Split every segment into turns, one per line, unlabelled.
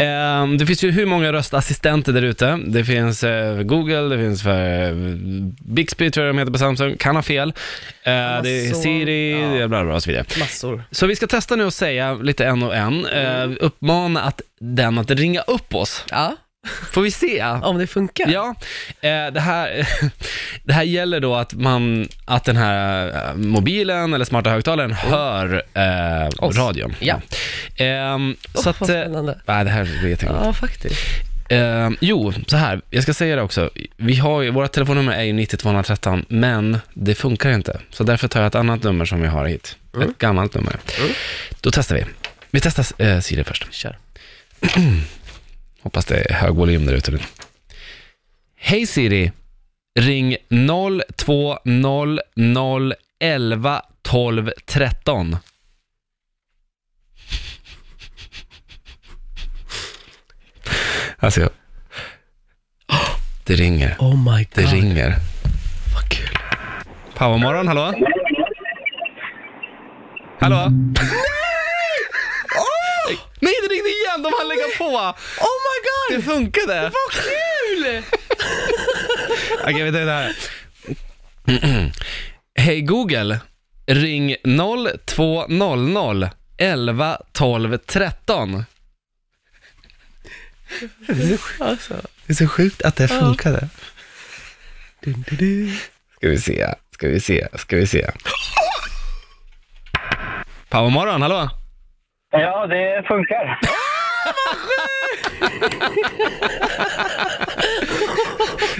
Ehm, det finns ju hur många röstassistenter där ute. Det finns eh, Google, det finns eh, Bixby tror jag de heter på Samsung, kan ha fel. Eh, det är
Massor.
Siri,
Ja.
det är bla bla bla och så vidare.
Massor.
Så vi ska testa nu att säga lite en och en,
Mm.
eh, uppmana att den att ringa upp oss.
Ja,
Får vi se?
om det funkar.
Ja, eh, det, här, det här gäller då att, man, att den här eh, mobilen eller smarta högtalaren hör eh,
Mm. Oss.
radion.
Ja.
Ehm, så
Åh,
att...
vad
Eh,
spännande.
nej, det här blir jättekul.
Ja, faktiskt.
Eh, jo, så här, jag ska säga det också. Vi har ju, våra telefonnummer är ju 90213, men det funkar inte. Så därför tar jag ett annat nummer som vi har hit. Ett gammalt nummer.
Mm.
Då testar vi. Vi testar eh, Siri först.
Kör.
Hoppas det är hög volym där ute nu. Hej Siri, ring 0200 11 12 13. Alltså, jag... det ringer.
Oh my god.
Det ringer.
Vad kul.
Powermorgon, hallå? Hallå? Nej! Nej, det ringde igen! De hann lägga på!
Oh my god!
Det funkade!
Vad kul!
Okej, vi tar det här. Hej Google, ring 0200 11 12 13.
alltså.
Det är så sjukt att det funkade.
Dun, dun, dun.
Ska vi se, ska vi se, ska vi se. Powermorgon, hallå?
Ja, det funkar.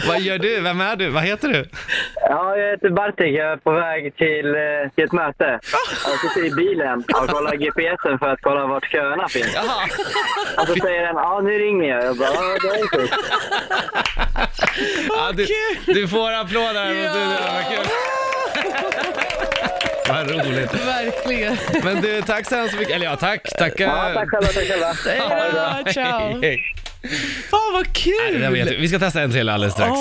Vad gör du? Vem är du? Vad heter du?
Ja, jag heter Bartek. Jag är på väg till, eh, till ett möte. Jag sitter i bilen och kollar GPSen för att kolla vart köerna finns. Och så säger den ja, nu ringer jag. Jag bara, ja, det är inte.
Ja, du, du får applåder här mot studion, vad kul. Vad roligt.
Verkligen.
Men du, tack så hemskt mycket. Eller ja, tack. Tacka.
Ja, tack själva, tack själva.
Hej då, ciao.
Hej, hej.
Fan vad kul!
Nej, det där var jätte- Vi ska testa en till alldeles strax.